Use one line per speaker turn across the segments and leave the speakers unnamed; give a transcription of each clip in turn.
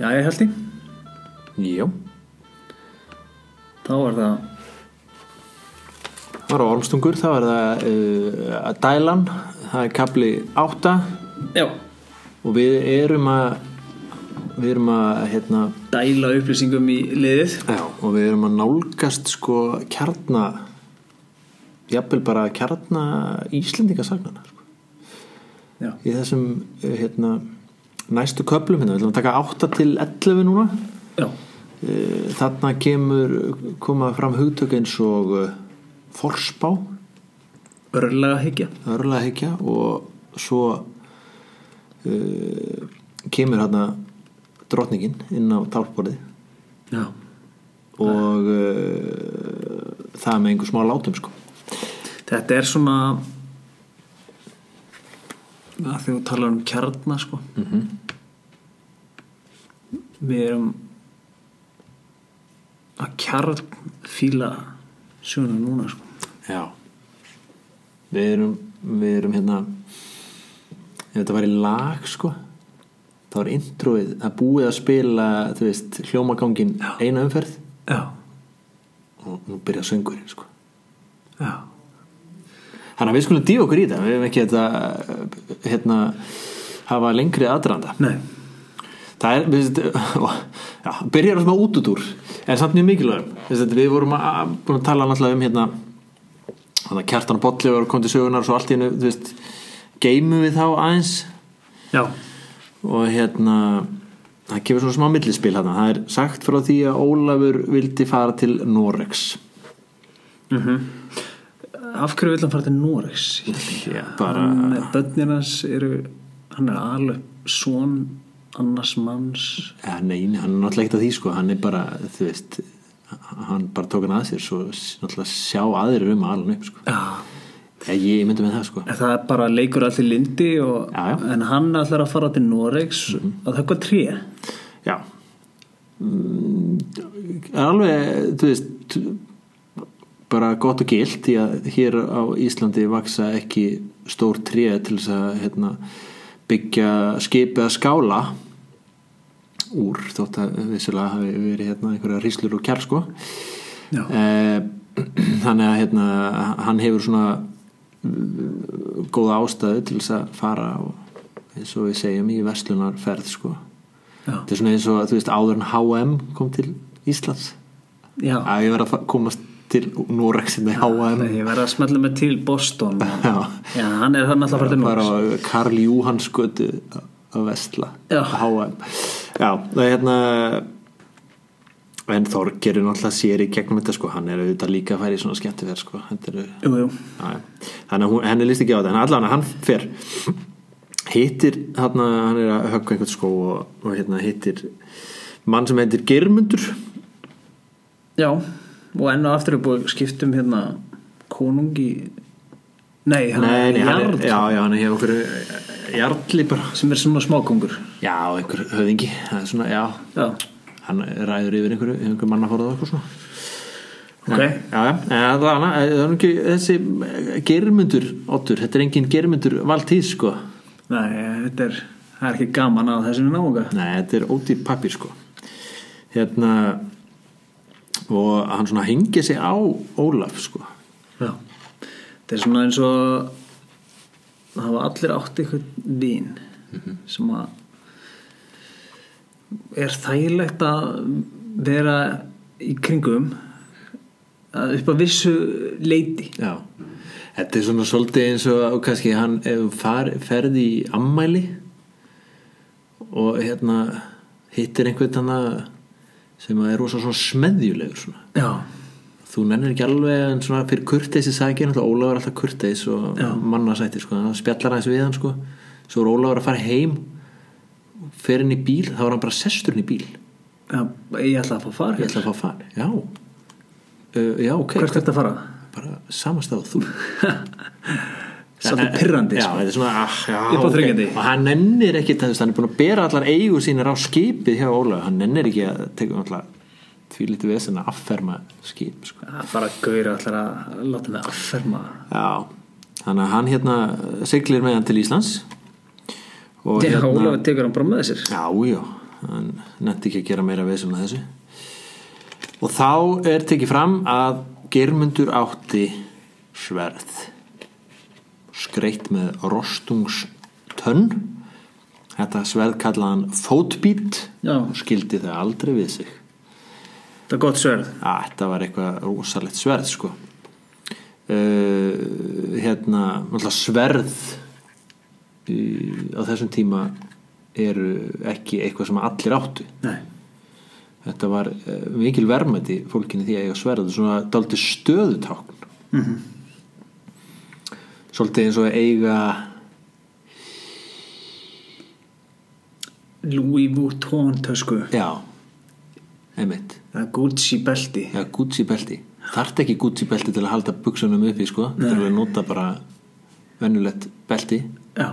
Jæja Hjalti,
Jó,
þá er það
það var ormstungur, það var það uh, dælan, það er kapli 8
Já,
og við erum að, við erum að, hérna,
dæla upplýsingum í liðið
já, og við erum að nálgast sko kjarna, jafnvel bara kjarna Íslendingasagnana, sko.
Já,
Í þessum, uh, hérna, næstu köplum, hérna, við ætlum að taka 8 til 11 núna.
já,
Uh, Þarna kemur, koma fram hugtök eins og uh, forspá,
örlega hyggja
örlega hyggja og svo uh, kemur hérna drotningin inn á tálkborðið
Já,
og uh, það með einhver smá látum sko.
þetta er svona að þegar þú talar um kjarna sko -hmm. Við erum að kjarnfíla sjónum núna sko
Já Við erum, við erum hérna ef þetta var í lag sko þá var introið að búið að spila þú veist, hljómagangin eina umferð
Já,
og nú byrja söngurinn sko
já,
Þannig að við skulum dýfa okkur í þetta, við hefum ekki þetta hérna, hafa lengri aðdraðanda.
nei
Það er, við veist, já, byrjar svona út út úr, en samt mjög mikilvægum. Við, veist, við vorum að, búin að tala náttúrulega um hérna, hérna kjartan og bolli og kom til sögunar og svo allt í hennu, þú veist, geymum við þá aðeins
Já,
og hérna, það kemur svona smá millispil hérna. Það er sagt frá því að Ólafur vildi fara til Norex.
af hverju vill hann fara til Noregs?
Já, bara,
hann, börnin hans eru hann er alveg svon annars manns
ja, Eh, nei, nei, hann er náttúrulega ekkert að því, sko, hann er bara, þú veist, hann bara tók hann að sér, svo náttúrulega sjá aðrir um að ala hann upp, sko.
já.
Ja, ég myndi með það, sko.
en það er bara leikur allir lindi og,
Já, Mhm. já.
en hann ætlar að fara til Noregs að höggva tré
Já er Mm, alveg þú veist bara gott og gilt því að hér á Íslandi vaksa ekki stór tré til þess að hérna, byggja skipið að skála úr þótt að vissilega hafi verið hérna, einhverja ríslur og kjær sko
Já.
Eh, þannig að hérna, hann hefur svona eh, góða ástæðu til þess að fara og, eins og við segjum í verslunarferð sko
já,
Þetta er svona eins og þú veist áður en H&M kom til Íslands
já.
að ég verið að fa- komast til Norex hérna í H&M
ég verð að smetla mig til Boston
Já.
já, hann er þannig að fara til
bara
Noregs
á Karl Júhans götu að vestla
Já.
H&M Já, það er hérna en Þorgerir náttúrulega sér í gegnum þetta sko, hann er auðvitað líka að færi svona skemmtiferð sko, þetta eru
jú, jú.
Já, já. þannig að hún- henni líst ekki á þetta en allan að hann fer hittir, hann, hann er að höggva einhvern skó og, og hérna hittir mann sem heitir Geirmundur
já, og enn og aftur er búið að skipta um hérna konungi nei, hann
Nei, nei,
er
hann er,
jarl
já, já, hann er hjá okkur jarli bara
sem er svona smákongur
Já, einhver höfðingi, það er svona, já
já,
hann ræður yfir einhverju, einhver mannaforða og eitthvað svona
ok
Já, já, en það er hana, það er nú ekki þessi germundur, Otur, þetta er engin germundur valdís, sko
Nei, þetta er, það er ekki gaman að þessum náunga.
Nei, þetta er ódýr pappir, sko Hérna og hann svona hengi sig á Ólaf, sko
Já. Þetta er svona eins og það hafa allir átt eitthvað vín sem að er þægilegt að vera í kringum að upp að vissu leiti.
Já, þetta er svona svolítið eins og og kannski hann ef þú far, ferði í ammæli og hérna hittir einhvern þannig sem er rosa svona smeðjulegur svona.
Já,
Þú nennir ekki alveg en svona fyrir kurteisi sagir, náttúrulega Ólafur er alltaf kurteis og
Já.
mannasættir sko, þannig að hann spjallar aðeins við hann sko, svo er Ólafur að fara heim fer inn í bíl, þá er hann bara sesturinn í bíl
já ég ætla að fá að fara.
ég ætla að fá að fara, já uh, já, ok,
Hvert er þetta að fara?
bara samastað þú
Svolítið pirrandi.
já,
sko.
þetta er svona ah, já,
Upp á
ok.
þrengjandi.
og hann nennir ekki þú veist, hann er búin að bera allar eigu sínir á skipið hjá Ólaug, hann nennir ekki að teka alltaf því lítið vesen að afferma skip sko.
Það er bara gauður allar að láta mig afferma.
já, þannig að hann hérna siglir með hann til Íslands og
hérna- Já, Ólafur tekur hann bara með þessir.
já, já hann nefndi ekki að gera meira veðsum með þessu og þá er tekið fram að Geirmundur átti sverð skreitt með rostungstönn þetta sverð kallaði hann fótbít
Já.
og skildi það aldrei við sig
það er gott sverð
að þetta var eitthvað rosalegt sverð sko uh, hérna náttúrulega sverð í, á þessum tíma eru ekki eitthvað sem allir áttu
Nei.
þetta var uh, mikil verðmæti fólkinni því að eiga sverð svona daldi stöðutákn
Mhm.
svolítið eins og að eiga
Louis Vuitton tösku
já, einmitt
það er Gucci belti
Já, Gucci belti. Þarft ekki Gucci belti til að halda buksunum uppi, sko. Það er að nota bara vennulegt belti.
já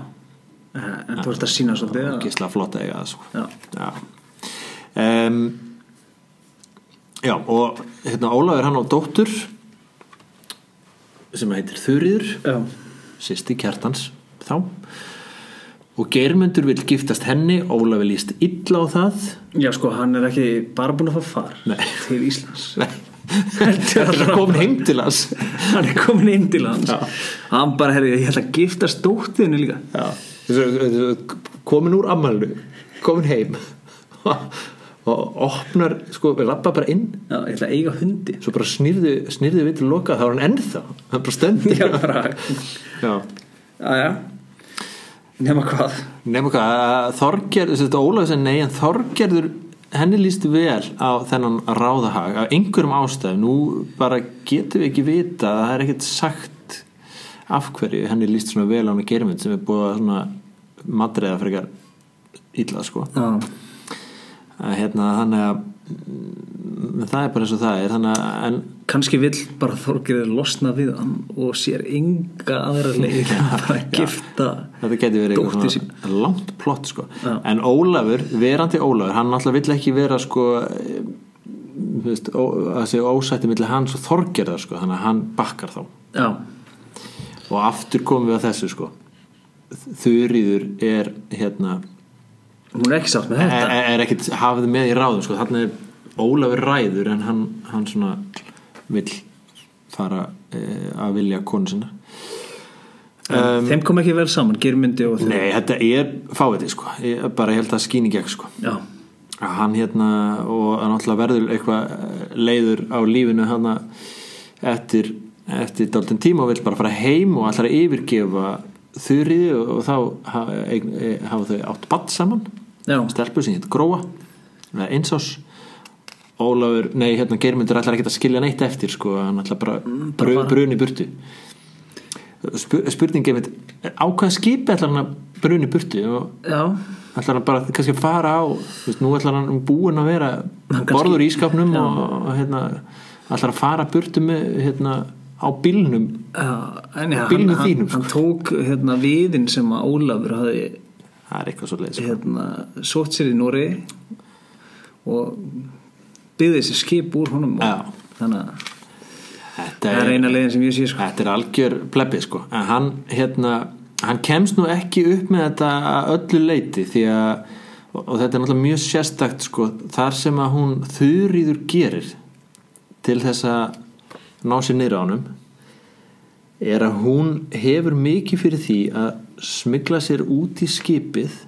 Eh, en þú ert að sína svolítið að-
Gísla flott að eiga það, sko.
Já.
Já. Um, já, og hérna Ólafur hann á dóttur sem heitir Þurriður,
já,
sýsti kjartans þá. Og Geirmundur vil giftast henni, Ólafur líst illa á það.
já sko hann er ekki bara búin að fá far
Nei.
til Íslands
Nei,
Heldur
það er
hann-
komin heim til hans.
hann er komin inn til hans
Já.
hann bara herri ég ætla að giftast dóttinu líka
Já. komin úr ammælnu komin heim og opnar sko, lappa bara inn
já, ég ætla að eiga hundi
svo bara snýrðu, snýrðu við til loka þá er hann ennþá, hann bara stendur
já bara
Já.
já já nema hvað
nema hvað, Þorgerður þetta Ólafur sem nei, en Þorgerður henni líst vel á þennan ráðahag af einhverjum ástæðum nú bara getum við ekki vita það er ekkert sagt af hverju henni líst svona vel á hann að germynd sem er búið að svona madreða frekar illa sko
já
að hérna þannig að mm, það er bara eins og það er þannig að en,
kannski vill bara Þorgerður losna við hann og sér enga aðra leik en að bara gifta
þetta geti verið
dóttir
eitthvað
sín
svona langt plott sko.
Já.
en Ólafur, verandi Ólafur hann alltaf vill ekki vera sko eh, þú veist, ó, að segja ósætti millir hans og þorgerðar sko, þannig að hann bakkar þá
já,
og aftur komum við að þessu sko þurriður er hérna
hún er ekki sátt með
er,
þetta
er- er ekkit hafið með í ráðum sko. þannig er Ólafur ræður en hann, hann svona vill fara eh, að vilja konu sinna Um,
þeim kom ekki vel saman, Girmyndi og þeim
Nei, þetta er fáviti sko ég bara held að skýni gegn sko
já,
að hann hérna og hann alltaf verður eitthvað eh, leiður á lífinu hann eftir, eftir dálítinn tíma og vill bara fara heim og allra yfirgefa þurriði og, og þá ha- eign- e- hafa þau átt badd saman
já,
stelpu sem hétt Gróa eða einsás Ólafur, nei hérna Geirmundur ætlar ekki að skilja neitt eftir sko, hann ætlar bara,
Mm,
bru, bruni burtu Spur, spurningi einmitt, á hvaða skipi ætlar hann að bruni burtu og
já
ætlar hann bara kannski að fara á þú veist, nú ætlar hann búin að vera
Hann kannski-
borður í skapnum og, og hérna, ætlar að fara burtu með hérna, á bílnum
Já, en já, hann,
Bílnum
hann,
þínum, sko.
hann tók hérna viðin sem að Ólafur hafði
það er eitthvað svo leið sko.
hérna, sótt sér í Nóri og byggði sér skip úr honum og,
Já.
þannig að
þetta
það er eina leiðin sem ég sé sko.
Þetta er algjör plebbi sko en hann, hérna, hann kemst nú ekki upp með þetta að öllu leiti því að, og og þetta er náttúrulega mjög sérstakt sko, þar sem að hún þurriður gerir til þess að ná sér niður á honum er að hún hefur mikið fyrir því að smigla sér út í skipið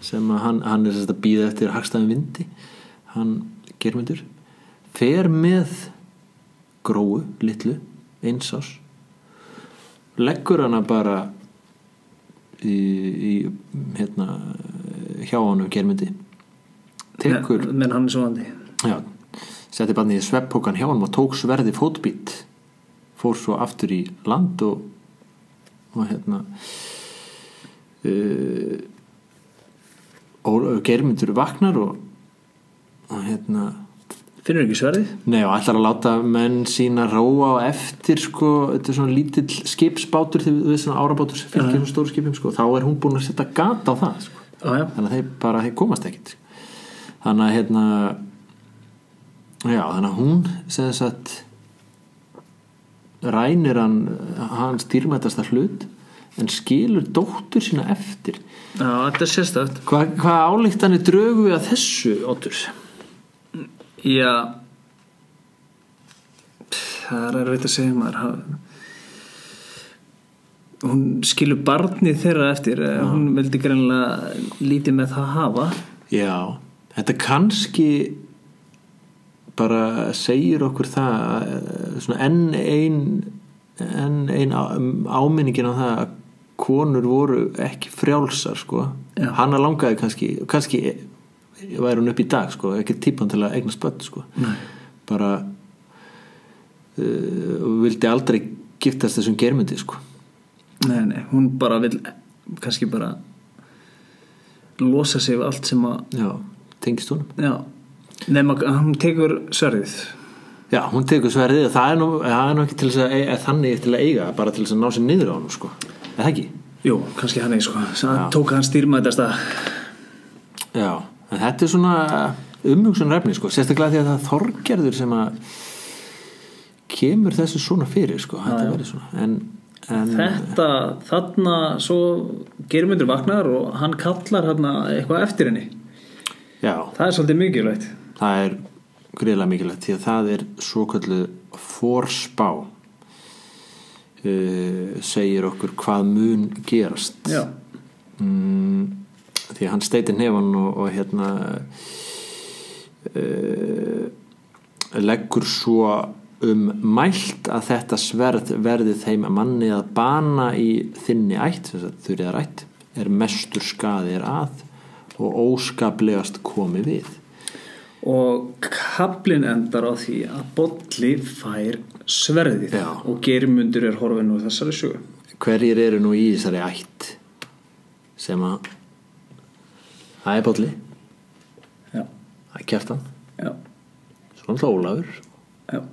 sem að hann, hann er sérst að býða eftir hagstæðum vindi hann germyndur fer með gróu, litlu, einsás leggur hana bara í, í hérna hjá honum germyndi tekur
Men, menn hann er svo andi
Já, setti barnið í svepphókan hjá honum og tók sverði fótbít fór svo aftur í land og, og hérna uh, Ólafur Geirmyndur vaknar og, og hérna
finnur ekki sverðið?
Nei og ætlar að láta menn sína róa á eftir sko, þetta er svona lítill skipsbátur þegar við svona árabátur sem fylgir svona stóru skipum sko, þá er hún búin að setja gata á það sko
Já, já.
þannig að þeir bara þeir komast ekkit þannig að hérna já, þannig að hún sem sagt rænir hann hans dýrmætasta hlut en skilur dóttur sína eftir
Já, þetta er sérstöft
Hva, hvað álíktanir drögu við að þessu, Otur?
Já Það er erfitt að segja maður Ha- Hún skilur barnið þeirra eftir eh, Hún vildi greinlega lítið með það hafa
Já, þetta kannski bara segir okkur það eh, svona enn ein enn ein á- um, áminningin á það að konur voru ekki frjálsar sko
Já.
hana langaði kannski kannski væri hún upp í dag sko ekki típan til að eignast börn sko Nei. bara uh, vildi aldrei giftast þessum germundi sko
Nei, nei, hún bara vil kannski bara losa sig við allt sem að
já, tengist honum
Já, nema hún tekur sverðið
Já, hún tekur sverðið og það er nú, það er nú ekki til þess að eiga, þannig til að eiga, bara til þess að ná sér niður á hann sko. Er það ekki?
Jú, kannski hann eigi sko Það tók hann stýrmætasta
Já, en þetta er svona umhugsun refni sko, sérstaklega því að það er þorgerður sem að kemur þessu svona fyrir sko, þetta verður svona en, en
Þetta, þarna svo Geirmundur vaknar og hann kallar hérna eitthvað eftir henni
já,
Það er svolítið mikilvægt
það er greiðlega mikilvægt því að það er svo kallu fórspá uh, segir okkur hvað mun gerast
Já,
mm, því að hann steitir nefan og, og hérna uh, leggur svo um mælt að þetta sverð verði þeim að manni að bana í þinni ætt, þess að þurriða rætt er mestur skaðir að og óskaplegast komi við
og kaplin endar á því að Bolli fær sverðið
Já.
og Geirmundur er horfinn úr þessari sögu
hverjir eru nú í þessari ætt sem að það er bolli
Já,
það er kjartan,
já,
svona alltaf Ólafur
já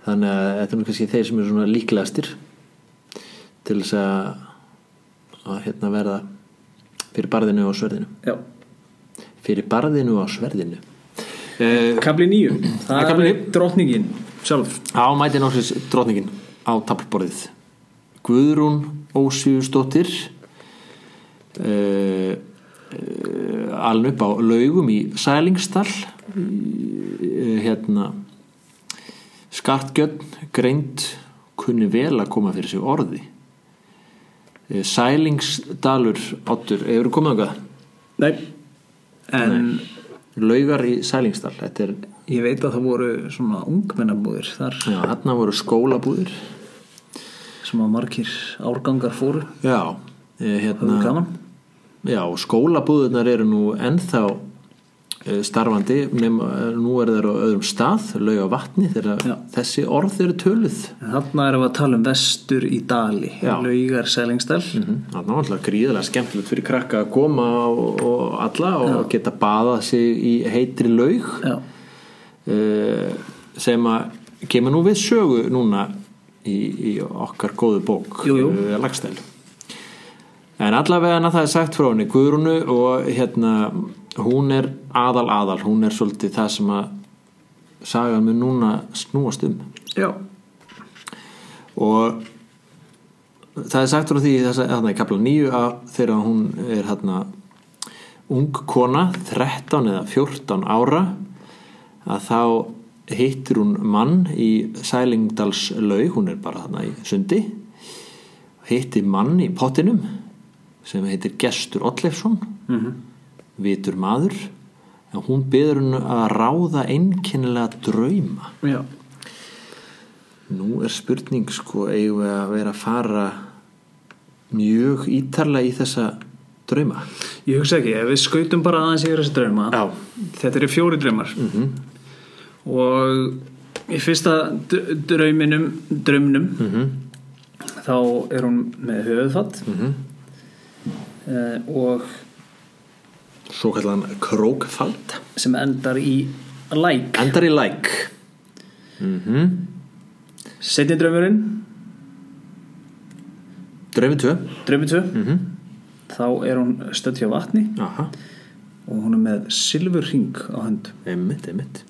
þannig að þetta er nú kannski þeir sem eru svona líklegastir til þess að, að hérna verða fyrir barðinu og sverðinu
Já,
fyrir barðinu og sverðinu uh,
kapli nýju, það
Kafli
er
níu.
drottningin sjálf
á mæti norsins drotningin á tablborðið Guðrún Ósvíðusdóttir uh, uh, aln upp á laugum í Sælingstall uh, hérna skartgjöld, greind kunni vel að koma fyrir sig orði Eh, Sælingsdalur áttur, hefur komið þangað
Nei, en
laugar í Sælingsdal þetta er,
ég veit að það voru svona ungmennabúðir þar
já, þarna voru skólabúðir
sem að margir árgangar fóru
já, eh,
höfðu
hérna
gaman
Já, og skólabúðunar eru nú ennþá eh, starfandi nema, eh, nú er þeir á öðrum stað laug á vatni þegar
Já.
þessi orð eru töluð
En Þarna erum við að tala um vestur í Dali,
Já. Mhm.
laugar Sælingstæl
Það er náttúrulega gríðilega skemmtilegt fyrir krakka að koma og, og alla og geta baðað sig í heitri laug
Já,
uh, sem að kemur nú við sögu núna í, í okkar góðu bók
Jú, jú.
eh, Laxdæl en allavega það er sagt frá henni Guðrúnu og hérna hún er aðal aðal, hún er svolítið það sem að sagan mun núna snúast um
já,
og það er sagt frá því þess að þarna í kapla nýju að þegar hún er þarna ung kona 13 eða 14 ára að þá hittir hún mann í Sælingdalslaug hún er bara þarna í sundi hittir mann í pottinum sem heitir Gestur Oddleifsson
Mhm.
vitur maður en hún byður hún að ráða einkennilega drauma
já
Nú er spurning sko eigum við að vera að fara mjög ítarlega í þessa drauma.
Ég hugsa ekki, ef við skautum bara aðeins yfir þessi drauma
Já.
Þetta eru fjóri draumar -hmm. Og í fyrsta dr- drauminum, draumnum -hmm.
Mhm.
Þá er hún með höfuðfatt -hmm. Og
Svo kallan krókfald.
sem endar í læk
Endar í læk. Mm
Setni draumurinn,
Draumi 2.
draumi 2
Mm
Þá er hún stödd hjá vatni
Aha,
og hún er með silfurring á hönd
einmitt, einmitt.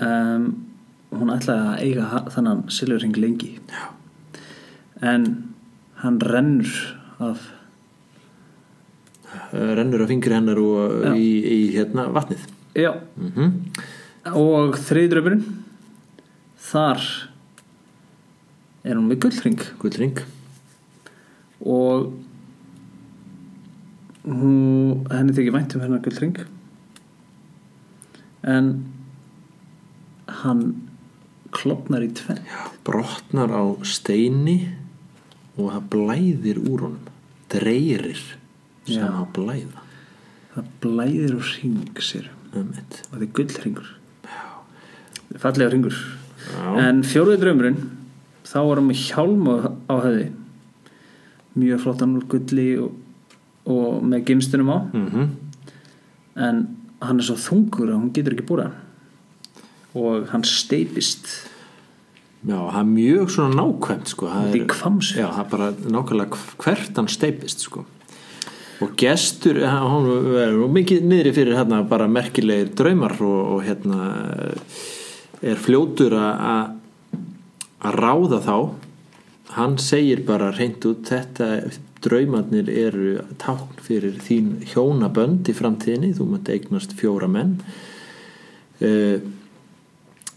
um, hún ætlaði að eiga ha- þennan silfurring lengi Já. en hann rennur af
Eh, rennur af fingri hennar og
Já.
í, í hérna vatnið
já,
mm
og þriðdröfurinn þar er hún með gullring
gullring
og hún, henni þykir vænt um hennar gullring en hann klopnar í tvenn
brotnar á steini og það blæðir úr honum dreirir sem
Já.
að blæða
það blæðir úr hring sér
um eitt
og þetta er gullringur fallega ringur
já,
en fjórði draumurinn þá var hann með hjálm á- á höfði mjög flottan úr gulli og, og með gimstunum á
mhm
en hann er svo þungur að hún getur ekki búra og hann steipist
Já, það er mjög svona nákvæmt sko. það
Þetta er
er,
Hvammsfjörður.
Já, það er bara nákvæmlega hvert hann steipist sko. og gestur eh, hann er nú mikið niðri fyrir hérna, bara merkilegir draumar og, og hérna eh, er fljótur að- að að ráða þá hann segir bara reynd út þetta draumarnir eru tákn fyrir þín hjónabönd í framtíðinni, þú mætti eignast fjóra menn eh,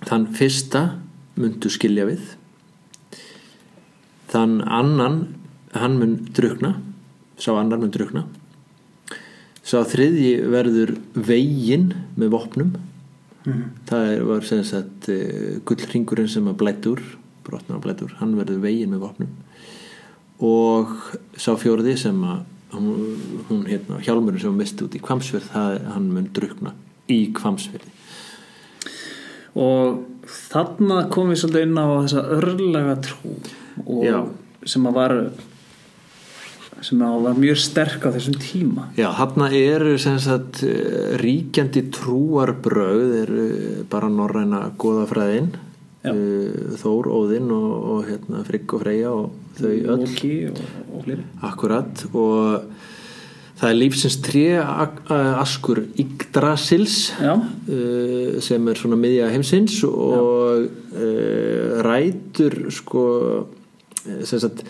þann fyrsta myndu skilja við þann annan hann mun drukna sá annar mun drukna sá þriðji verður veginn með vopnum það er, var sem sagt eh, gullringurinn sem að blættur brotnar að blættur, hann verður veginn með vopnum og sá fjórði sem að hún, hún hérna, hjálmurinn sem hún misti út í kvamsverð, það er, hann mun drukna í kvamsverði
og þarna kom við svolítið inn á þessa örlaga trú og
Já.
sem að var sem að var mjög sterk á þessum tíma
Já, þarna eru sem sagt eh, ríkjandi trúarbröð er bara norræna goðafræðin
Já.
eh, Þór, Óðinn og, og hérna, Frigg og Freyja og þau öll
Loki og, og fleiri
akkurat og það er lífsins tré ak- eh, askur Yggdrasils
já,
eh, sem er svona miðja heimsins og uh, rætur sko eh, sem sagt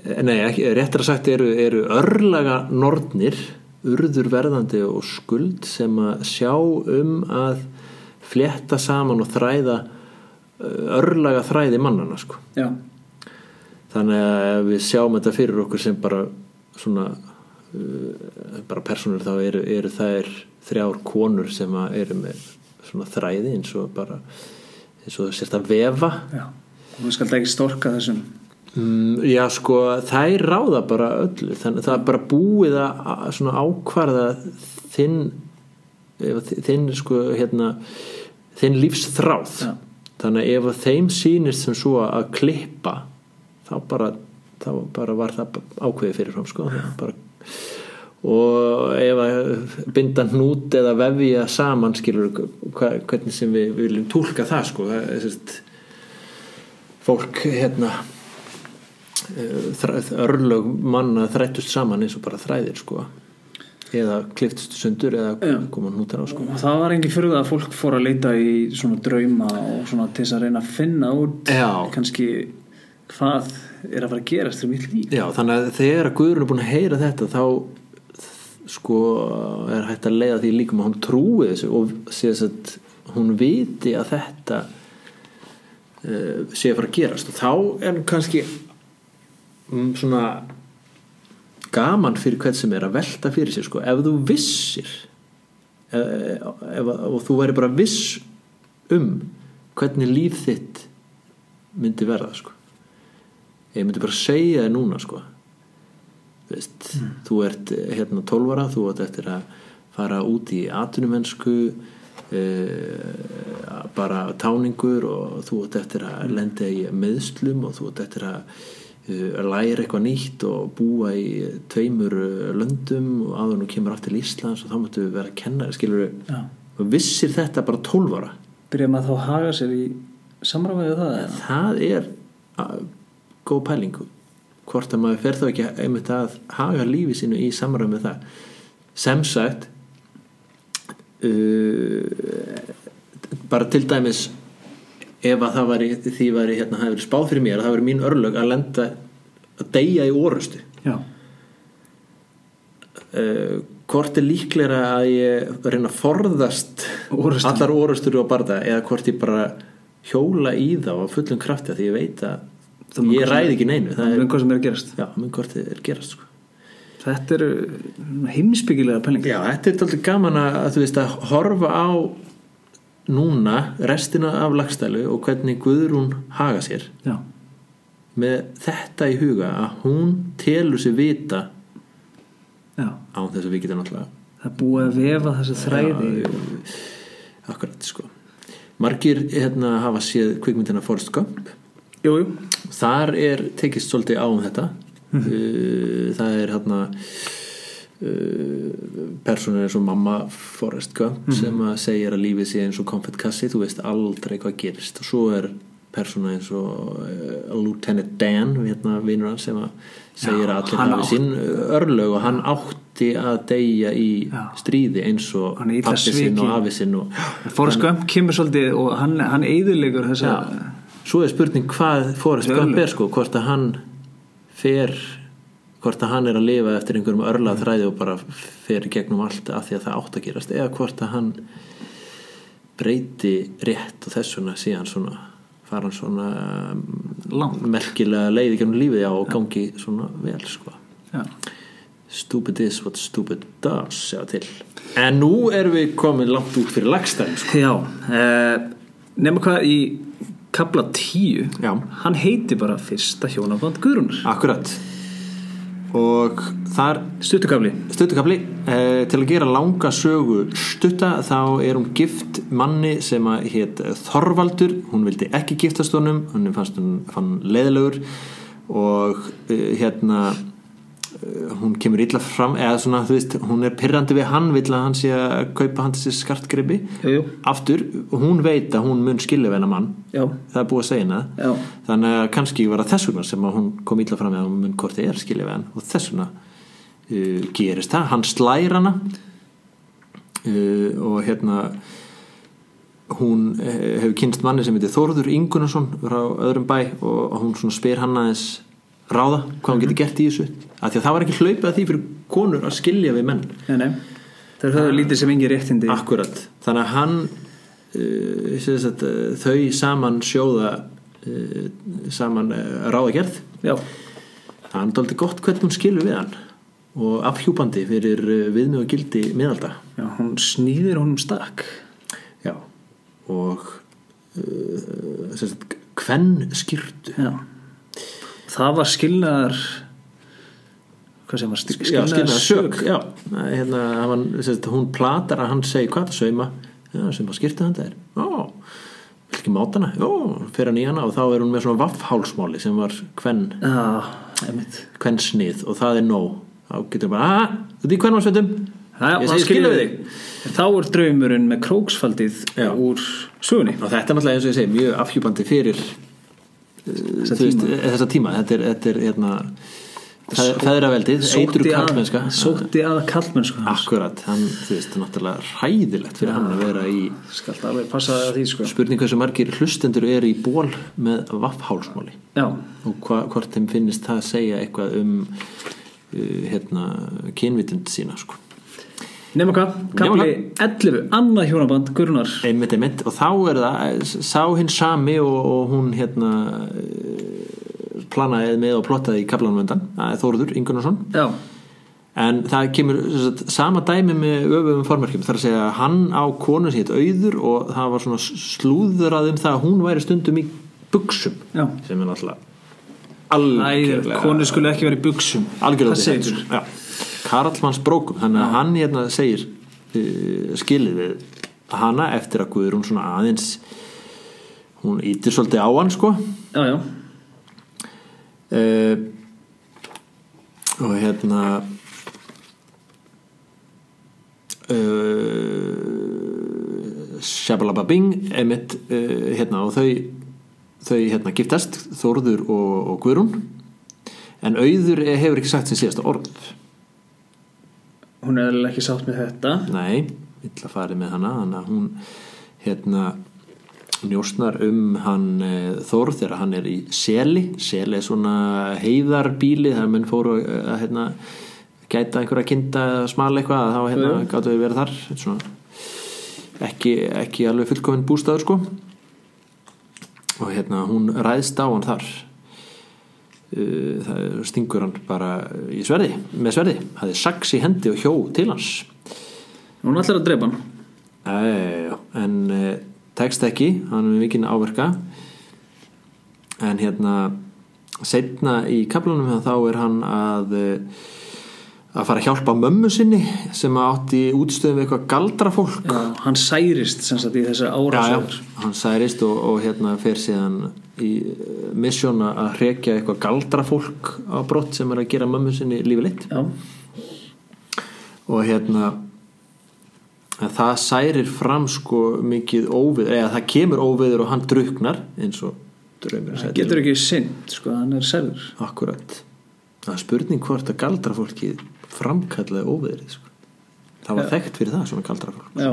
eh, nei, ekki, réttar að sagt eru, eru örlaga nornir urðurverðandi og skuld sem að sjá um að flétta saman og þræða eh, örlaga þræði mannana sko
já,
þannig að ef við sjáum þetta fyrir okkur sem bara svona uh, bara personur þá eru, eru þær þrjár konur sem að eru með svona þræði eins og bara eins og sérst að vefa
já og þú skalt ekki storka þessum
mm, já sko þær ráða bara öllu þannig að það er bara búið að að svona ákvarða þinn ef að þinn sko hérna þinn lífsþráð
Já.
þannig að ef að þeim sýnist sem svo að klippa þá bara, þá bara var það ákveðið fyrir fram sko Það bara, og ef að binda hnút eða vefja saman skilur hva, hvernig sem við viljum túlka það sko það, er sérst, fólk hérna eh, þræ- örlög manna þrættust saman eins og bara þræðir sko eða kliftust sundur eða
Já.
koma hnútar á sko
og það var engin fyrir það að fólk fór að leita í svona drauma og svona til þess að reyna að finna út
Já.
kannski hvað er að fara að gerast í mitt líf
Já, þannig að þegar að Guðrún er búin að heyra þetta þá sko er hægt að leiða því líkum að hún trúi þessu og sé þess að hún viti að þetta uh, sé að fara að gerast og þá er hún kannski um, svona gaman fyrir hvern sem er að velta fyrir sér sko ef þú vissir ef, ef, og þú væri bara viss um hvernig líf þitt myndi verða sko ég myndi bara segja þér núna sko Þú veist, þú ert eh, hérna 12 ára, þú ert eftir að fara út í atvinnumennsku uh, bara táningur og þú ert eftir að lenda í meðslum og þú ert eftir að uh, læra eitthvað nýtt og búa í tveimur eh, löndum og áður nú kemur aftur til Íslands og þá máttu vera að kenna skilur
Já.
og vissir þetta bara 12 ára
byrja maður þá að haga sér í samræfæðu það eða?
það er uh, góð pæling hvort að maður fer þá ekki einmitt að haga lífi sínu í samræð með það sem sagt uh, bara til dæmis ef að það væri því væri hérna, það hefur spáð fyrir mér að það væri mín örlög að lenda að deyja í orustu
já,
uh, hvort er líklega að ég reyna að forðast
Orustum.
allar orustur og barða eða hvort ég bara hjóla í þá á fullum krafti af því ég veit
Það
að
mun
ég
hvort sem
ræði ekki neinu
það
það
er
er,
einhvað sem er að gerast
já, menn hvort þið er gerast sko.
þetta eru heimsbyggilega pælingar
já, þetta er alltaf gaman að, að þú veist að horfa á núna restina af lagstælu og hvernig Guðrún haga sér
já,
með þetta í huga að hún telur sér vita
já,
án þess að við getum náttúrulega
það er búið að vefa þessi þræði
Já, akkurat sko margir hérna hafa séð kvikmyndina Forrest Gump
jú, jú,
þar er tekist svolítið á um þetta
Mhm.
Uh, það er hérna uh, persónur eins og mamma Forrest Gump
Mhm.
sem að segir að lífið sé eins og konfettkassi, þú veist aldrei hvað gerist og svo er persóna eins og uh, Lieutenant Dan hérna vinnur hann sem að segir
Já,
að allir
hann
hafi
átt-
sín örlög og hann átti að deyja í
Já.
stríði eins og
Hann er illa
pappi sinn og
svikinn.
afi sinn og
Forrest Gump kemur svolítið og hann, hann eiðilegur þessa
Já. Svo er spurning hvað Forrest
Örlög.
Gump er sko, hvort að hann fer, hvort að hann er að lifa eftir einhverjum örlað þræði og bara fer í gegnum allt að því að það átt að gerast eða hvort að hann breyti rétt og þess vegna síðan svona fara hann svona um,
Langt.
merkilega leiði gegnum lífið já og gangi svona vel sko
Já.
stupid is what stupid does sjá til en nú erum við komin langt út fyrir lagstæðin sko
Já, eh, nema hvað í kapla 10
Já.
hann heiti bara fyrsta hjónaband Guðrúnar
akkurat og þar
stuttukafli
Stuttukafli, eh, til að gera langa sögu stutta þá er hún gift manni sem að hétt Þorvaldur, hún vildi ekki giftast honum, hann fannst hún fann leiðilegur og eh, hérna eh, hún kemur illa fram, eða svona þú veist, hún er pirrandi við hann, vill að hann sé að kaupa hann þessi skartgripi
Jú, jú.
aftur, hún veit að hún mun skilja vel að mann,
já,
það er búið að segja hennar
já,
þannig að kannski var það þess vegna sem að hún kom illa fram með að hún mun hvort þið er skilja við hann og þess vegna uh, gerist það, hann slær hana uh, og hérna hún eh, hefur kynst manni sem heitir Þórður Ingunarsson frá öðrum bæ og hún svona spyr hann aðeins ráða hvað hún
Mhm.
getur gert í þessu af því að það var ekki hlaupið að því fyrir konur að skilja við menn
nei, nei þeir höfðu lítið sem engin réttindi
Akkurat, þannig að hann uh, sem sagt, uh, þau saman sjóða uh, saman uh, ráðagerð
já,
það er aldrei gott hvernig hún skilur við hann og afhjúpandi fyrir uh, viðmið og gildi miðalda
já, hún snýðir honum stakk
Já. og uh, sem sagt, hvenn skýrtu
já það var skilnaðar hvað sem var
Já, skilnaðar
sök
sök Já, hérna, hann, sérst, hún platar að hann segi hvað það sauma já, sem að skýrta hann það er já, vil ekki máta hana já, fer hann í hana og þá er hún með svona vaffhálsmáli sem var hvern,
já, einmitt
hvern snið og það er nóg þá getur bara, aða, þú ert í hvern varsveitum
Já,
ég
það
segi skilja við þig
En Þá er draumurinn með króksfaldið
Já.
úr sögunni
og þetta er náttúrulega eins og ég segi mjög afhjúpandi fyrir þessa tíma, veist, þessa tíma. þetta er, þetta er hérna, feðraveldið, eitru
Sótti að-
kallmennska
Sótti að kallmennsku hans
Akkurat, hann, þú veist, náttúrulega ræðilegt fyrir hann að vera í
Skalt alveg passa að því sko
Spurning hversu margir hlustendur eru í ból með vaffhálsmáli
Já,
og hva, hvort þeim finnist það að segja eitthvað um uh, hérna, kynvitund sína sko.
nema hvað, kapli 11 annað hjónaband Gurnar
einmitt, einmitt og þá er það eh, sá hinn sami og, og hún hérna eh, planaði með og plottaði í kaplanvendan Þóruður Ingunarsson
Já,
eh, en það kemur sem sagt, sama dæmi með öfum formerkjum þar að segja að hann á konu sér auður og það var svona slúðrað um það að hún væri stundum í buksum
já
sem er náttúrulega
Æður,
algjörlega
konu skulle ekki vera í buksum
algjörlega sko.
Það segir
já. Karlmanns brókum þannig að hann hérna segir uh, skilið við hana eftir að Guðrún svona aðeins hún ítir svolítið á hann sko
Já, já,
uh, og hérna eh, uh, Shabalababing emitt uh, hérna og þau þau hérna giftast Þórður og, og Guðrún en auður hefur ekki sagt sem síðasta orð
hún er eðlilega ekki sátt með þetta
Nei, illa farið með hana þannig að hún hérna njósnar um hann eh, Þór þegar hann er í Seli Seli er svona heiðarbíli þegar menn fóru að, að hérna, gæta einhverja kinda eða smala eitthvað þá hérna, gáttu við verið þar svona, ekki, ekki alveg fullkominn bústaður sko og hérna hún ræðst á hann þar Uh, það stingur hann bara í sverði, með sverði hafði saks í hendi og hjó til hans
Hún ætlar að drepa hann
Æ, en uh, tekst ekki hann er með mikinn áverka en hérna setna í kaplanum þá er hann að uh, að fara að hjálpa mömmu sinni sem átti útstöðum við eitthvað galdrafólk
Já, hann særist sem sagt í þessar árásaður
hann særist og, og hérna fer síðan í eh, misjón að hrekja eitthvað galdrafólk á brott sem er að gera mömmu sinni lífi litt
Já,
og hérna en það særir fram sko mikið óvið eða það kemur óviður og hann druknar eins og draumur
hann getur ekki sint sko, hann er særður
akkurat það er spurning hvort að galdrafólkið framkallaði óviðrið sko. það var þekkt fyrir það svona galdrafólk
Já,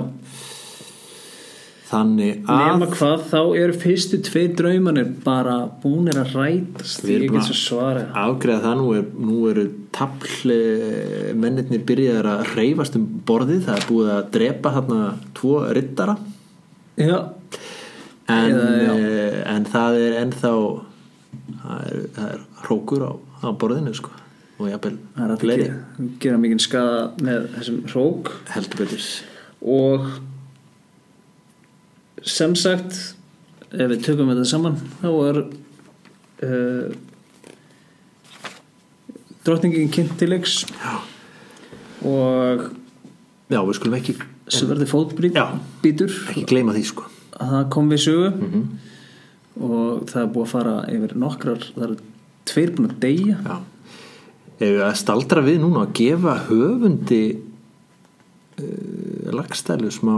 þannig að
nema hvað þá eru fyrstu tvei draumanir bara búnir að rætast
Við
ég
erum
ekki
búin
eins
að-
og svara
afgreða það nú, er, nú eru tafl eh, mennirnir byrjaðar að reyfast um borðið það er búið að drepa þarna tvo rittara
Já,
en,
Eða, já.
eh, en það er ennþá það er, það er hrókur á, á borðinu sko og
það er
jafnvel
að
fleiri
gera, gera mikið skada með þessum hrók
heldur betur
og sem sagt ef við tökum þetta saman þá er uh, drottningin kynnt til leiks og
já við skulum ekki,
sverði fótbrýt
Já.
býtur
ekki gleyma því sko
að það kom við sögu og það er búið að fara yfir nokkrar það eru tveir búin að deyja
já ef við að staldra við núna að gefa höfundi uh, lagstælu smá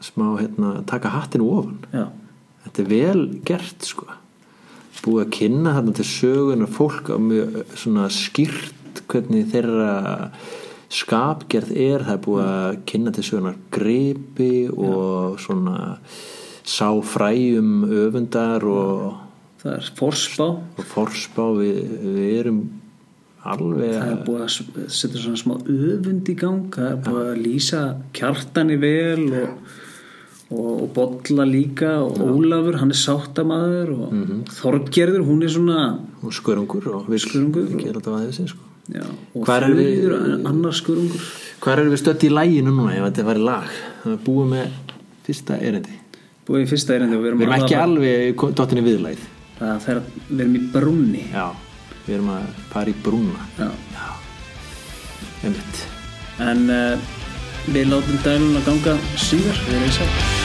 smá hérna taka hattinu ofan
já,
þetta er vel gert sko búið að kynna þarna til sögunar fólk á mjög svona skýrt hvernig þeirra skapgerð er það er búið að kynna til sögunar gripi og svona sá fræjum öfundar og,
það er forspá
og forspá við, við erum alveg
það
að
er búið að s- setja svona smá öfund í gang það er búið að lýsa kjartani vel og, og, og bolla líka og Ólafur, hann er sáttamaður og mm Þorgerður, hún er svona
og skörungur og við
Skörungur og-
ekki er alltaf aðeins sko.
já, og
Hvar er við-
Þuríður, annar skurungur
hvað erum við stödd í læginu núna ef þetta væri lag það er búið með fyrsta erindi
búið í fyrsta erindi og við erum,
Við erum
að-
ekki alveg dottinni viðlæð
það fer að- við erum í brúnni
Já Við erum að fara í brúna
já.
Já Einmitt
eh, en uh, við látum dæluna ganga síðar við erum í sátt